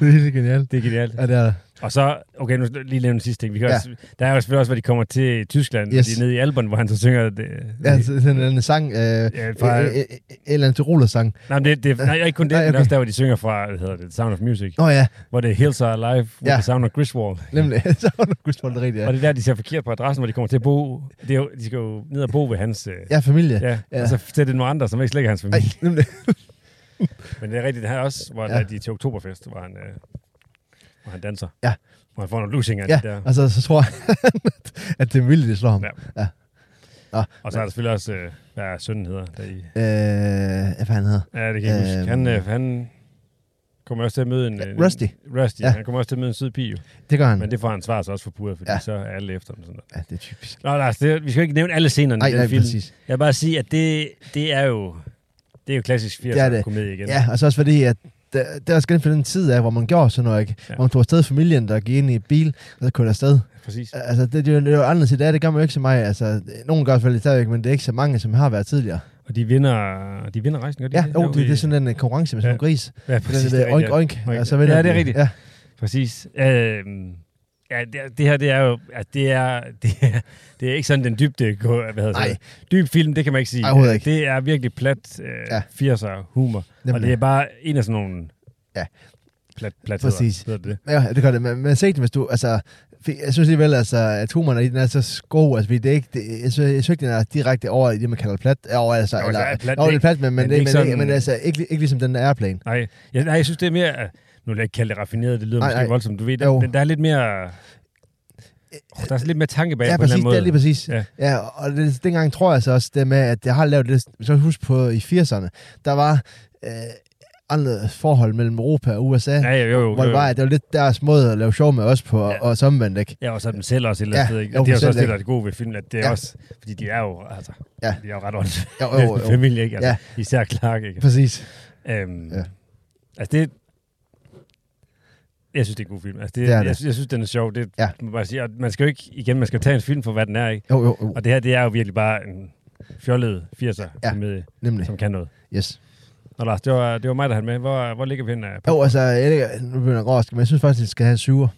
S4: det er helt genialt.
S3: Det er genialt.
S4: Ja, det er det.
S3: Og så, okay, nu lige nævne en sidste ting. Vi kan ja.
S4: Ja.
S3: også, der er jo selvfølgelig også, hvor de kommer til Tyskland, yes.
S4: Yes.
S3: de er nede i Alperne, hvor han så synger... Det,
S4: Ja, så- sådan en sang, øh,
S3: Ja,
S4: øh,
S3: fra-
S4: øh, øh, en eller anden Tiroler sang.
S3: Nej, men det, det, nej, ikke kun det,
S4: Nej,
S3: men
S4: okay.
S3: også der, hvor de synger fra, hvad hedder det, Sound of Music,
S4: Nå ja,
S3: hvor det er Hills Are Alive with ja.
S4: Ja.
S3: the Sound of Griswold.
S4: nemlig. så var det Griswold det rigtigt, ja.
S3: Og det er der, de ser forkert på adressen, hvor de kommer til at bo. Det er jo, de skal jo ned og bo ved hans... øh,
S4: Ja, familie.
S3: ja. ja.
S4: ja.
S3: Og så sætter det nogle andre, som ikke slet ikke er hans
S4: Ej,
S3: familie. Ej.
S4: nemlig.
S3: Men det er rigtigt, det her også, hvor
S4: Ja.
S3: ja. de er til oktoberfest, hvor han, øh, hvor han danser.
S4: Ja.
S3: Hvor han får nogle lusinger
S4: Ja,
S3: ja. der.
S4: altså, så tror jeg, at det er vildt, det slår ham.
S3: Ja.
S4: Ja. ja. Nå,
S3: Og så er der selvfølgelig også, øh, hvad er sønnen hedder, der i...
S4: øh, hvad han hedder?
S3: Ja, det kan jeg ikke huske. Han,
S4: Øhm.
S3: øh, han kommer også til at møde en... en-
S4: Rusty.
S3: Rusty, ja.
S4: Ja.
S3: han kommer også til at møde en sød pige, jo.
S4: Det gør han.
S3: men det får han svar så også forpurret, fordi ja.
S4: Ja.
S3: så er alle efter ham sådan noget.
S4: Ja, det er typisk.
S3: Nå, Lars, det, vi skal jo ikke nævne alle scenerne
S4: Nej,
S3: i den
S4: nej,
S3: film.
S4: præcis.
S3: Jeg vil bare sige, at det, det er jo det er jo klassisk
S4: Det er
S3: 80'er
S4: det.
S3: komedie igen.
S4: Ja, og så altså også fordi, at det, det er også gennem den tid af, hvor man gjorde sådan noget, ikke?
S3: Ja.
S4: Ja. Hvor man tog afsted i familien, der gik ind i et bil, og så kørte afsted.
S3: Præcis.
S4: Altså, det, det er jo- det er jo anderledes i dag, det gør man jo ikke så meget. Altså, nogen gør det selvfølgelig stadigvæk, men det er ikke så mange, som har været tidligere.
S3: Og de vinder, de vinder rejsen, gør de
S4: Ja,
S3: ikke?
S4: jo, det, det er sådan en øh, konkurrence med sådan
S3: Ja.
S4: en gris.
S3: ja,
S4: Præcis,
S3: præcis,
S4: den
S3: det
S4: der
S3: er
S4: oink,
S3: rigtigt.
S4: oink,
S3: Oink.
S4: og så vinder
S3: Ja, det er
S4: den.
S3: rigtigt.
S4: Ja,
S3: Præcis. Øh, ja, det, er- det her, det er jo, at det er, det er, det er ikke sådan den dybde, gå- hvad hedder
S4: Nej.
S3: det? Dyb film, det kan man ikke sige. Øh,
S4: Nej, overhovedet ikke.
S3: Det er virkelig plat øh,
S4: Ja.
S3: ja. 80'er humor. Nemlig. Og
S4: Nemlig.
S3: det er bare en af sådan nogle
S4: Ja.
S3: plat, plat
S4: Præcis.
S3: Hedder det.
S4: ja, det gør det. Men, men se det, hvis du... Altså, for jeg synes alligevel, altså, at humoren i den er så god. Altså, fordi det er ikke, det, jeg, synes, jeg synes, ikke, den er direkte over i det, man kalder plat. Ja, Over, altså,
S3: Jo,
S4: eller,
S3: der er plat,
S4: plat, over
S3: ikke?
S4: det plat, men, men,
S3: Men
S4: men,
S3: det er
S4: men,
S3: ikke
S4: sådan...
S3: sådan-
S4: men altså, ikke, ikke ligesom den airplane.
S3: Nej. Jeg, nej, jeg synes, det er mere... øh, Nu vil jeg ikke kalde det raffineret, det lyder nej,
S4: Nej,
S3: måske nej.
S4: nej.
S3: voldsomt, du ved det,
S4: Jo. Øh,
S3: men der er lidt mere... Oh, der er lidt mere tanke bag
S4: Ja,
S3: på en eller
S4: præcis,
S3: anden
S4: det
S3: måde.
S4: er lige præcis.
S3: Ja.
S4: Ja, ja og det, dengang tror jeg så også det med, at jeg har lavet det, hvis jeg husker på i 80'erne, der var øh, anderledes forhold mellem Europa og USA, ja,
S3: Ja, jo, jo, jo.
S4: hvor det var, at det var lidt deres måde at lave sjov med os på,
S3: Ja.
S4: ja. og så omvendt, ikke?
S3: Ja, og så dem selv også et eller
S4: Ja,
S3: andet sted. Ikke?
S4: jo,
S3: Og det er jo
S4: dem
S3: så også
S4: selv,
S3: det, der er det gode ved filmen, at det er ja.
S4: Ja.
S3: også... Fordi de er jo, altså, ja.
S4: Ja.
S3: de er jo ret ordentligt
S4: Jo, jo, jo.
S3: familie, ikke? Altså, ja. Især Clark, ikke?
S4: Præcis.
S3: Øhm, ja.
S4: Ja.
S3: Altså, det... Jeg synes, det er en god film. Altså, det,
S4: Det er
S3: Jeg,
S4: det.
S3: synes, jeg synes, den er sjov. Det, ja.
S4: Ja.
S3: man, bare sige. Og man skal jo ikke... Igen, man skal jo tage en film for, hvad den er, ikke?
S4: Jo, jo, jo,
S3: Og det her, det er jo virkelig bare en fjollet 80'er ja.
S4: Ja.
S3: komedie,
S4: nemlig.
S3: som kan noget.
S4: Yes.
S3: Nå, Lars, det var, det var mig, der havde den med. Hvor, hvor ligger vi henne?
S4: Jo, altså, jeg, ved ikke, nu begynder jeg at overraske, men jeg synes faktisk, at det skal have en syver.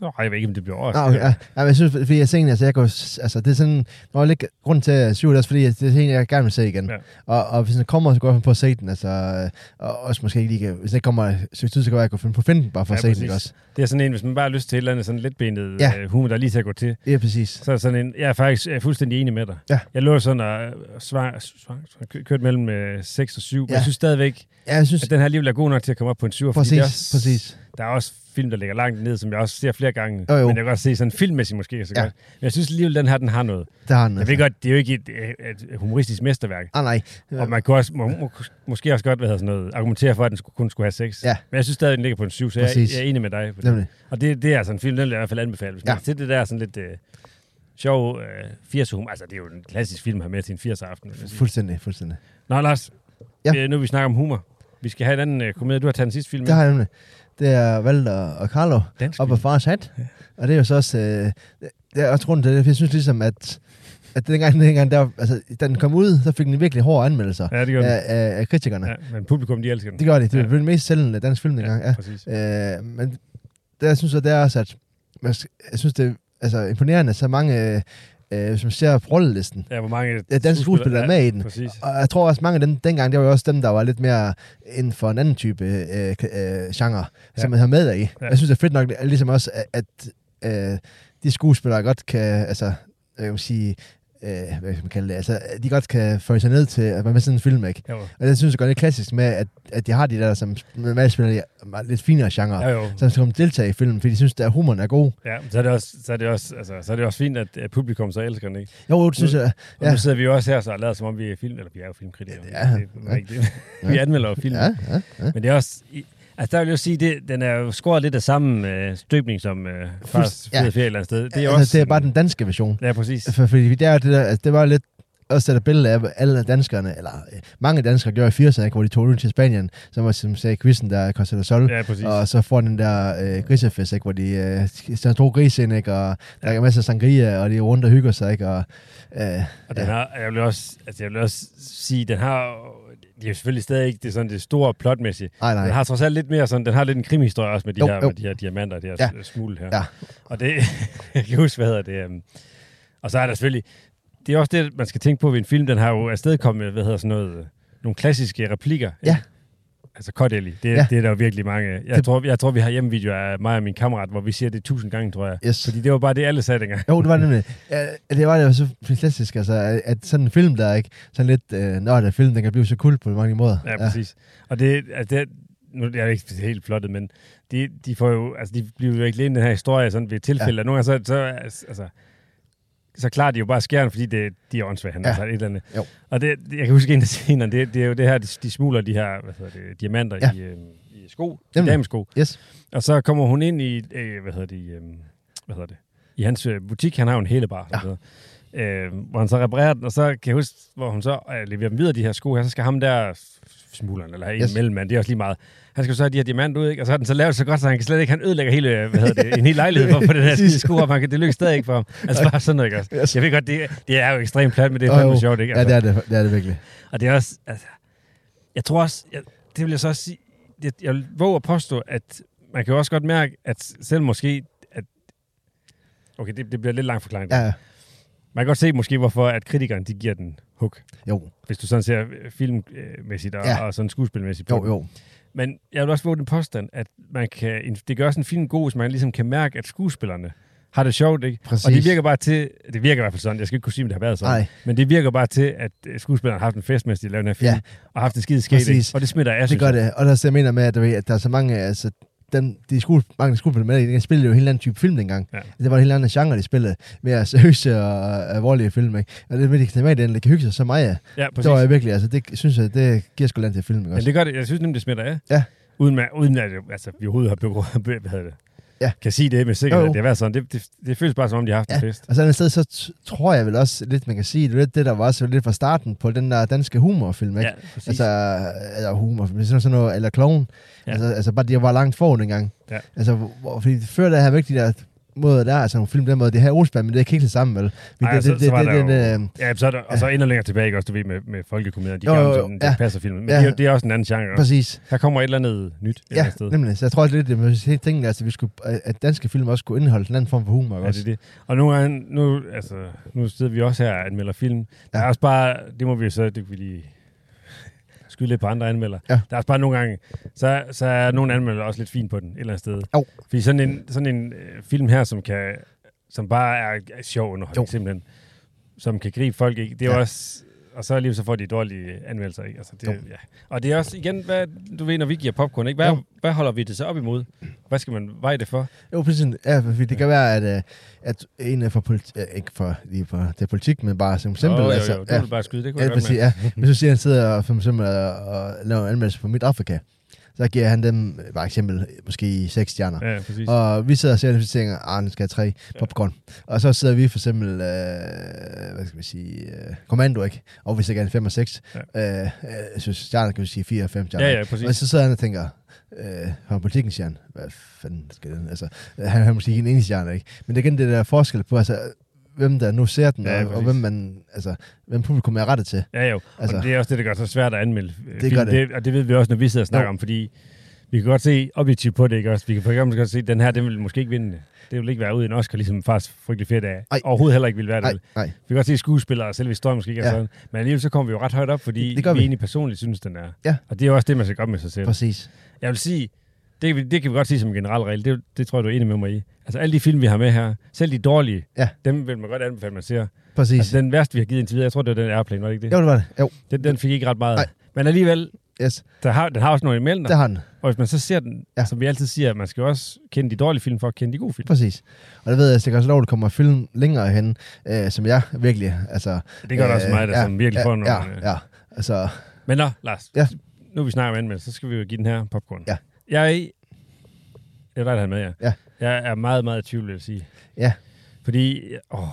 S3: Nå, jeg ved ikke, om det bliver over.
S4: Nå, okay, ja. ja. men jeg synes, fordi jeg ser en, altså, jeg går, altså, det er sådan, når jeg lægger grund til at syv, det er også fordi, at det er en, jeg gerne vil se igen.
S3: Ja.
S4: Ja. Og, og, hvis den kommer, så går jeg finde på at se den, altså, øh, og også måske ikke lige, kan- hvis den ikke kommer et stykke tid, så kan jeg gå finde på at finde den, bare for
S3: Ja,
S4: ja, at se
S3: præcis.
S4: den, ikke også?
S3: Det er sådan en, hvis man bare har lyst til et eller andet sådan letbenet
S4: Ja.
S3: ja. humor, der er lige til at gå til.
S4: Ja, præcis.
S3: Så er sådan en, jeg er faktisk jeg er fuldstændig enig med dig.
S4: Ja.
S3: Jeg lå sådan og øh, svar, svar, svar, kø- kørte mellem øh, 6 og 7, ja. men
S4: Ja.
S3: jeg synes stadigvæk,
S4: Ja, jeg synes,
S3: at den her alligevel er god nok til at komme op på en 7.
S4: præcis, præcis.
S3: Der er også film, der ligger langt ned, som jeg også ser flere gange,
S4: Jo, jo.
S3: men jeg kan godt se sådan filmmæssigt måske ikke så
S4: Ja.
S3: godt. Men jeg synes alligevel, den her, den har noget.
S4: Det har den. altså.
S3: Jeg ved godt, det er jo ikke et, øh, et humoristisk mesterværk,
S4: Ah, nej.
S3: og man kunne også, må, må, måske også godt hvad hedder sådan noget, argumentere for, at den skulle, kun skulle have 6.
S4: Ja.
S3: Men jeg synes stadig, den ligger på en 7, så jeg,
S4: Præcis.
S3: jeg er enig med dig. På det.
S4: Nemlig.
S3: Og det, det er altså en film, den vil jeg i hvert fald anbefale. Hvis ja.
S4: Ja.
S3: man til det der sådan lidt øh, sjov øh, 80 humor. Altså, det er jo en klassisk film her med til en 80'er aften. vil jeg sige.
S4: Fuldstændig, fuldstændig.
S3: Nå, Lars. Ja.
S4: Ja.
S3: Øh, nu vi snakker om humor. Vi skal have en anden øh, komedie. Du har taget den sidste film.
S4: Mm. Det har jeg nemlig. Det er Valter og Carlo
S3: Dansk
S4: op af
S3: film.
S4: fars hat. Og det er jo så også... Øh, det er også grunden til det, for jeg synes ligesom, at, at dengang, dengang der, altså, da den kom ud, så fik den virkelig hårde anmeldelser
S3: Ja, det gør den.
S4: af, af, af kritikerne.
S3: Ja, men publikum, de elsker den.
S4: Det gør det. Det
S3: Ja.
S4: er ja. den mest sælgende dansk film dengang. Ja.
S3: Præcis.
S4: Ja. Øh, men der synes jeg, det er også, at man skal- jeg synes, det er altså, imponerende, så mange, øh, øh, som ser på rollelisten,
S3: Ja, hvor mange
S4: Ja, danske skuespillere er med i den.
S3: Præcis.
S4: Og jeg tror også, mange af dem dengang, det var jo også dem, der var lidt mere inden for en anden type øh, k- øh,
S3: Ja.
S4: genre, ja. som man har med i.
S3: Ja.
S4: Ja. Jeg synes, det er fedt nok, at- ligesom også, at- at øh, de skuespillere godt kan, altså, øh, jeg kan man sige, øh, hvad skal man kalde det, altså, at de godt kan føre sig ned til at være med i sådan en film, ikke?
S3: Jo,
S4: Og det synes jeg godt det er klassisk med, at, at de har de der, som normalt spiller de meget lidt finere genre,
S3: ja,
S4: ja.
S3: jo.
S4: som skal deltage i filmen, fordi de synes, at humoren er god.
S3: Ja, så er det også, så er det også, altså, så er det også fint, at, at publikum så elsker den, ikke?
S4: Jo, det synes jeg.
S3: Og ja.
S4: Ja.
S3: nu sidder vi jo også her, så har lavet som om vi er film, eller vi er jo filmkritikere.
S4: Ja,
S3: det er
S4: ja.
S3: rigtigt. vi anmelder jo film.
S4: Ja, ja, ja.
S3: Men det er også... i- Altså, der vil jeg jo sige, det, den er jo skåret lidt af samme øh, støbning som øh, Fars
S4: ja.
S3: fede ferie et eller andet sted. Det er
S4: altså,
S3: jo også...
S4: det er bare den danske version.
S3: Ja, præcis.
S4: For, fordi det, er jo det, der, altså, det var lidt også det der billede af hvad alle danskerne, eller øh, mange danskere gjorde i 80'erne, ikke, hvor de tog ud til Spanien, som var som sagde i quizzen der Costa del Sol,
S3: Ja, præcis.
S4: og så får den der øh, grisefest, ikke, hvor de øh, der er to gris ind, ikke, og der er masser af sangria, og de er rundt og hygger sig, ikke, og øh,
S3: Og den har, jeg vil også, altså, jeg vil også sige, den har... Det er jo selvfølgelig stadig ikke det, sådan, det store plotmæssige.
S4: nej,
S3: Den
S4: nej,
S3: har trods alt lidt mere sådan, den har lidt en krimhistorie også med de,
S4: Jo,
S3: her,
S4: jo.
S3: Med de her diamanter, de her ja.
S4: Ja.
S3: smule her.
S4: Ja.
S3: Og det, jeg kan huske, hvad hedder det. øhm. Og så er der selvfølgelig, det er også det, man skal tænke på ved en film, den har jo afstedkommet, hvad hedder sådan noget, øh, nogle klassiske replikker. ikke?
S4: Ja.
S3: Altså Cordelli, det, ja.
S4: Ja.
S3: det er der jo virkelig mange. af. Jeg, det...
S4: Det-
S3: tror, jeg tror, vi har hjemmevideoer af mig og min kammerat, hvor vi siger det tusind gange, tror jeg.
S4: yes.
S3: Fordi det var bare det, alle sagde dengang.
S4: Jo, det var det nemlig. Ja, det var jo så fantastisk, altså, at- at sådan en film, der er ikke sådan lidt, øh, når der film, den kan blive så kul på mange måder.
S3: Ja, præcis. Og det, altså det, nu er jeg ikke helt flottet, men de, de, får jo, altså de bliver jo ikke alene i den her historie sådan ved et tilfælde. Ja. Nogle gange så, så, altså, så klarer de jo bare skæren, fordi det, de er åndssvage, han
S4: Ja.
S3: ja. altså et eller andet.
S4: Jo.
S3: Og det, jeg kan huske en af scenerne, det, det er jo det her, de, de smuler de her hvad hedder det, diamanter ja.
S4: Ja.
S3: i, øh, i sko, i
S4: Nemlig.
S3: damesko.
S4: Yes.
S3: Og så kommer øhm, hun ind i, øh, hvad hedder det, øh, hvad hedder det, i hans øh, butik, han har jo en hele bar,
S4: Ja.
S3: ja. Øh, hvor han så reparerer den, og så kan jeg huske, hvor hun så øh, leverer dem videre, de her sko her, så skal ham der smugleren, eller en
S4: Yes.
S3: yes. mellemmand, det er også lige meget. Han skal jo så have de her diamanter ud, ikke? og så har den så lavet så godt, så han kan slet ikke, han ødelægger hele, øh, hvad hedder det, en hel lejlighed for at få den her skide sko op, han kan, det lykkes stadig ikke for ham. Altså bare sådan noget, ikke også?
S4: Yes.
S3: Jeg ved godt, det, det er jo ekstremt plat, men det er
S4: Åh,
S3: fandme
S4: jo.
S3: sjovt, ikke? Altså,
S4: Ja, det er det, det er det virkelig.
S3: Og det er også, altså, jeg tror også, jeg, det vil jeg så også sige, jeg, jeg vil våge at påstå, at man kan jo også godt mærke, at selv måske, at, okay, det, det bliver lidt lang forklaring.
S4: Ja,
S3: Ja. Man kan godt se måske, hvorfor at kritikerne, de giver den hook,
S4: jo,
S3: hvis du sådan ser øh, filmmæssigt og,
S4: Ja.
S3: ja. og sådan skuespilmæssigt på
S4: jo,
S3: den.
S4: jo.
S3: Men jeg vil også våge den påstand, at man kan, en- det gør også en film god, hvis man ligesom kan mærke, at skuespillerne har det sjovt, ikke?
S4: Præcis.
S3: Og det virker bare til, det virker i hvert fald sådan, jeg skal ikke kunne sige, om det har været sådan,
S4: Nej.
S3: men det virker bare til, at øh, skuespillerne har haft en fest, mens de lavede den her film,
S4: Ja.
S3: ja. og haft en skide skægt,
S4: Præcis.
S3: ikke? og det smitter af,
S4: Det
S3: synes
S4: gør
S3: jeg.
S4: det. Og der er også det, jeg mener med, at, du ved, at der er så mange, altså, dem, de skole, mange skuespillere med, de spillede jo en helt anden type film dengang. Altså,
S3: Ja.
S4: Det var en helt anden genre, de spillede. Mere seriøse og alvorlige film, ikke? Og det med, de kan tage med i den, de kan hygge sig så meget.
S3: Ja,
S4: Det
S3: præcis.
S4: var jeg virkelig, altså, det synes jeg, det giver sgu land til filmen, ikke
S3: Men
S4: også?
S3: det gør det, jeg synes nemlig, det smitter af.
S4: Ja.
S3: Uden, at, uden at altså, vi overhovedet har begået, hvad hedder det?
S4: Ja.
S3: kan sige det med sikkerhed,
S4: Jo, jo.
S3: at det har været sådan. Det, det, det, føles bare, som om de har haft en fest.
S4: Og så andet sted, så t- tror jeg vel også lidt, man kan sige, det er lidt det, der var også lidt fra starten på den der danske humorfilm, ikke?
S3: Ja, præcis.
S4: Altså, eller humor, men sådan sådan noget, eller kloven. Ja.
S3: Ja.
S4: Altså, altså bare, de var langt foran engang.
S3: Ja.
S4: Altså, hvor, fordi før der havde vi ikke de der måder der, altså nogle film på den måde, det her Olsberg, men det er ikke helt sammen, vel? Men
S3: Ej,
S4: det,
S3: så-
S4: det,
S3: så var
S4: det,
S3: der
S4: det, det, øh,
S3: Ja, så er der, og så endnu længere tilbage, ikke også, du ved, med, med folkekomedier. De
S4: Jo,
S3: jo, jo,
S4: jo,
S3: jo,
S4: jo.
S3: sådan, det
S4: Ja.
S3: passer filmen. Men
S4: Ja.
S3: ja. det, er jo- det er også en anden genre. Også.
S4: øh, præcis.
S3: Der kommer et eller andet nyt et eller
S4: Ja,
S3: andet sted.
S4: nemlig. Så jeg tror også lidt, at tænkte, altså, vi skulle, at danske film også skulle indeholde en anden form for humor. ikke
S3: Ja,
S4: også?
S3: det er det. Og nu, er, nu, altså, nu sidder vi også her og anmelder film. Der
S4: Ja.
S3: er også bare, det må vi jo så, det kan vi lige skyde lidt på andre anmelder.
S4: Ja.
S3: Der er også bare nogle gange, så, så er nogle anmelder også lidt fin på den et eller andet sted.
S4: Jo.
S3: Fordi sådan en, sådan en øh, film her, som, kan, som bare er, er sjov underholdning
S4: Jo.
S3: simpelthen, som kan gribe folk, ikke? det er
S4: Ja.
S3: ja. også og så alligevel så får de dårlige anmeldelser. Ikke? Altså, det,
S4: Jo.
S3: ja. Og det er også, igen, hvad, du ved, når vi giver popcorn, ikke? Hvad,
S4: Jo.
S3: hvad holder vi det så op imod? Hvad skal man veje det for?
S4: Jo, præcis. Ja, fordi det kan være, at, øh, at en er fra politik, ikke for, lige for det er politik, men bare som eksempel.
S3: Åh, jo,
S4: altså,
S3: jo, jo. Du
S4: ja,
S3: vil bare skyde, det kunne
S4: ja,
S3: jeg godt
S4: præcis,
S3: mærke.
S4: ja. Hvis du siger, at han sidder og, for eksempel, og, og laver en anmeldelse på Mit Afrika, så giver han dem, øh, bare eksempel, måske seks stjerner.
S3: Ja, præcis.
S4: Og vi sidder og ser det, og tænker, ah, den skal have tre popcorn. Og så sidder vi for eksempel, øh, hvad skal vi sige, øh, kommando, ikke? Og vi skal gerne 5 og 6. Ja. Øh, øh, jeg synes, stjerner kan vi sige 4 og 5 stjerner.
S3: Ja, ja, præcis.
S4: Og så sidder han og tænker, øh, fra politikken siger han, hvad fanden skal den? Altså, øh, han har måske ikke en enig stjerne, ikke? Men det er igen det der forskel på, altså, hvem der nu ser den,
S3: Ja,
S4: og, og,
S3: præcis.
S4: hvem, man, altså, hvem publikum er rettet til.
S3: Ja, jo.
S4: Altså-
S3: Altså, og det er også det, der gør så svært at anmelde. øh,
S4: Det
S3: film.
S4: gør det.
S3: Og det ved vi også, når vi sidder og snakker
S4: Jo.
S3: jo. om, fordi vi kan godt se objektivt på det, ikke også? Vi kan for eksempel godt se, at den her, den vil måske ikke vinde. Det vil ikke være uden Oscar, ligesom faktisk frygtelig fedt af.
S4: Ej.
S3: Overhovedet heller ikke vil være det.
S4: Nej,
S3: vel?
S4: nej.
S3: Vi kan godt se, at skuespillere og selve historien måske ikke er
S4: Ja.
S3: sådan. Men alligevel så kommer vi jo ret højt op, fordi
S4: Det- det
S3: det
S4: gør
S3: vi,
S4: vi.
S3: egentlig personligt synes, den er.
S4: Ja.
S3: Og det er jo også det, man skal gøre med sig selv.
S4: Præcis.
S3: Jeg vil sige, det, kan vi- det kan vi godt sige som en generel regel. Det, det tror jeg, du er enig med mig i. Altså alle de film, vi har med her, selv de dårlige,
S4: Ja.
S3: dem vil man godt anbefale, man ser.
S4: Præcis.
S3: Altså, den værste, vi har givet indtil videre, jeg tror, det var den Airplane, var det ikke det?
S4: Jo, det var det. Jo,
S3: Den, den fik ikke ret meget.
S4: Nej.
S3: Nej. Men alligevel,
S4: yes.
S3: der har, den har også nogle elementer.
S4: Der har den.
S3: Og hvis man så ser den,
S4: Ja.
S3: ja. som vi altid siger, man skal jo også kende de dårlige film for at kende de gode film.
S4: Præcis. Og det ved jeg, at det kan også lov, at der kommer film længere hen, øh, som jeg virkelig, altså...
S3: Det gør der også mig, der sådan virkelig
S4: ja,
S3: får nogle, øh,
S4: Ja, ja, altså...
S3: Men nå, Lars,
S4: Ja.
S3: ja. nu vi snakker om anmeldelse, så skal vi jo give den her popcorn.
S4: Ja.
S3: Jeg er i... Det er dig, der havde med jer.
S4: Ja.
S3: Jeg er meget, meget i tvivl, vil jeg sige.
S4: Ja.
S3: Fordi... Åh,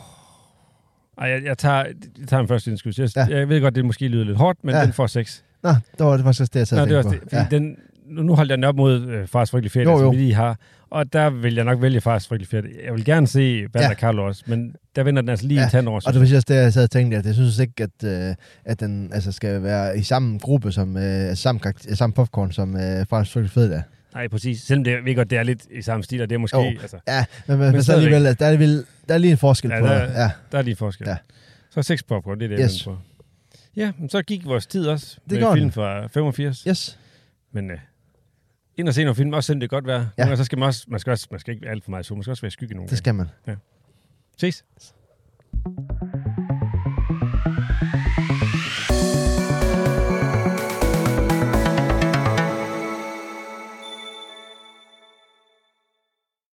S3: ej, jeg, jeg, tager, jeg tager en første indskud. Jeg,
S4: Ja.
S3: ja. jeg ved godt, det måske lyder lidt hårdt, men
S4: Ja.
S3: ja. den får 6.
S4: Nå, det var det faktisk også det, jeg sad
S3: Nå,
S4: og
S3: det er
S4: tænkte
S3: også
S4: på.
S3: det. Fordi ja. den, nu nu holdt jeg den op mod øh, Fars Frygtelig Ferie,
S4: Jo, jo.
S3: som vi lige har. Og der vil jeg nok vælge Fars Frygtelig Ferie. Jeg vil gerne se Banda
S4: Ja.
S3: ja. Carlo også, men der vender den altså lige
S4: Ja,
S3: ja. en tand over.
S4: Og det var faktisk også det, jeg sad og tænkte, at jeg synes ikke, at, øh, at den altså, skal være i samme gruppe, som øh, altså, samme, karakter, samme popcorn, som øh, Frans Frygtelig Fed er.
S3: Nej, præcis. Selvom det, jeg ved godt, det er lidt i samme stil, og det er måske...
S4: Jo.
S3: Jo. Altså,
S4: Ja, men, men, men så
S3: stadigvæk.
S4: alligevel, at der er, alligevel, der er lige en forskel
S3: Ja,
S4: på
S3: der
S4: det.
S3: er-
S4: Ja,
S3: der er lige forskel.
S4: Ja.
S3: Ja. Så seks popcorn, det er det,
S4: Yes.
S3: yes. jeg venter på. Ja, men så gik vores tid også
S4: Det
S3: det
S4: gjorde
S3: med film
S4: den.
S3: fra 85. Ja.
S4: yes.
S3: Men øh, ind og se nogle film, også selvom det er godt være.
S4: Ja.
S3: Ja. så skal man også, man skal også, man skal ikke være alt for meget i solen, man skal også være i skygge nogle
S4: Det
S3: gange.
S4: skal man.
S3: Ses.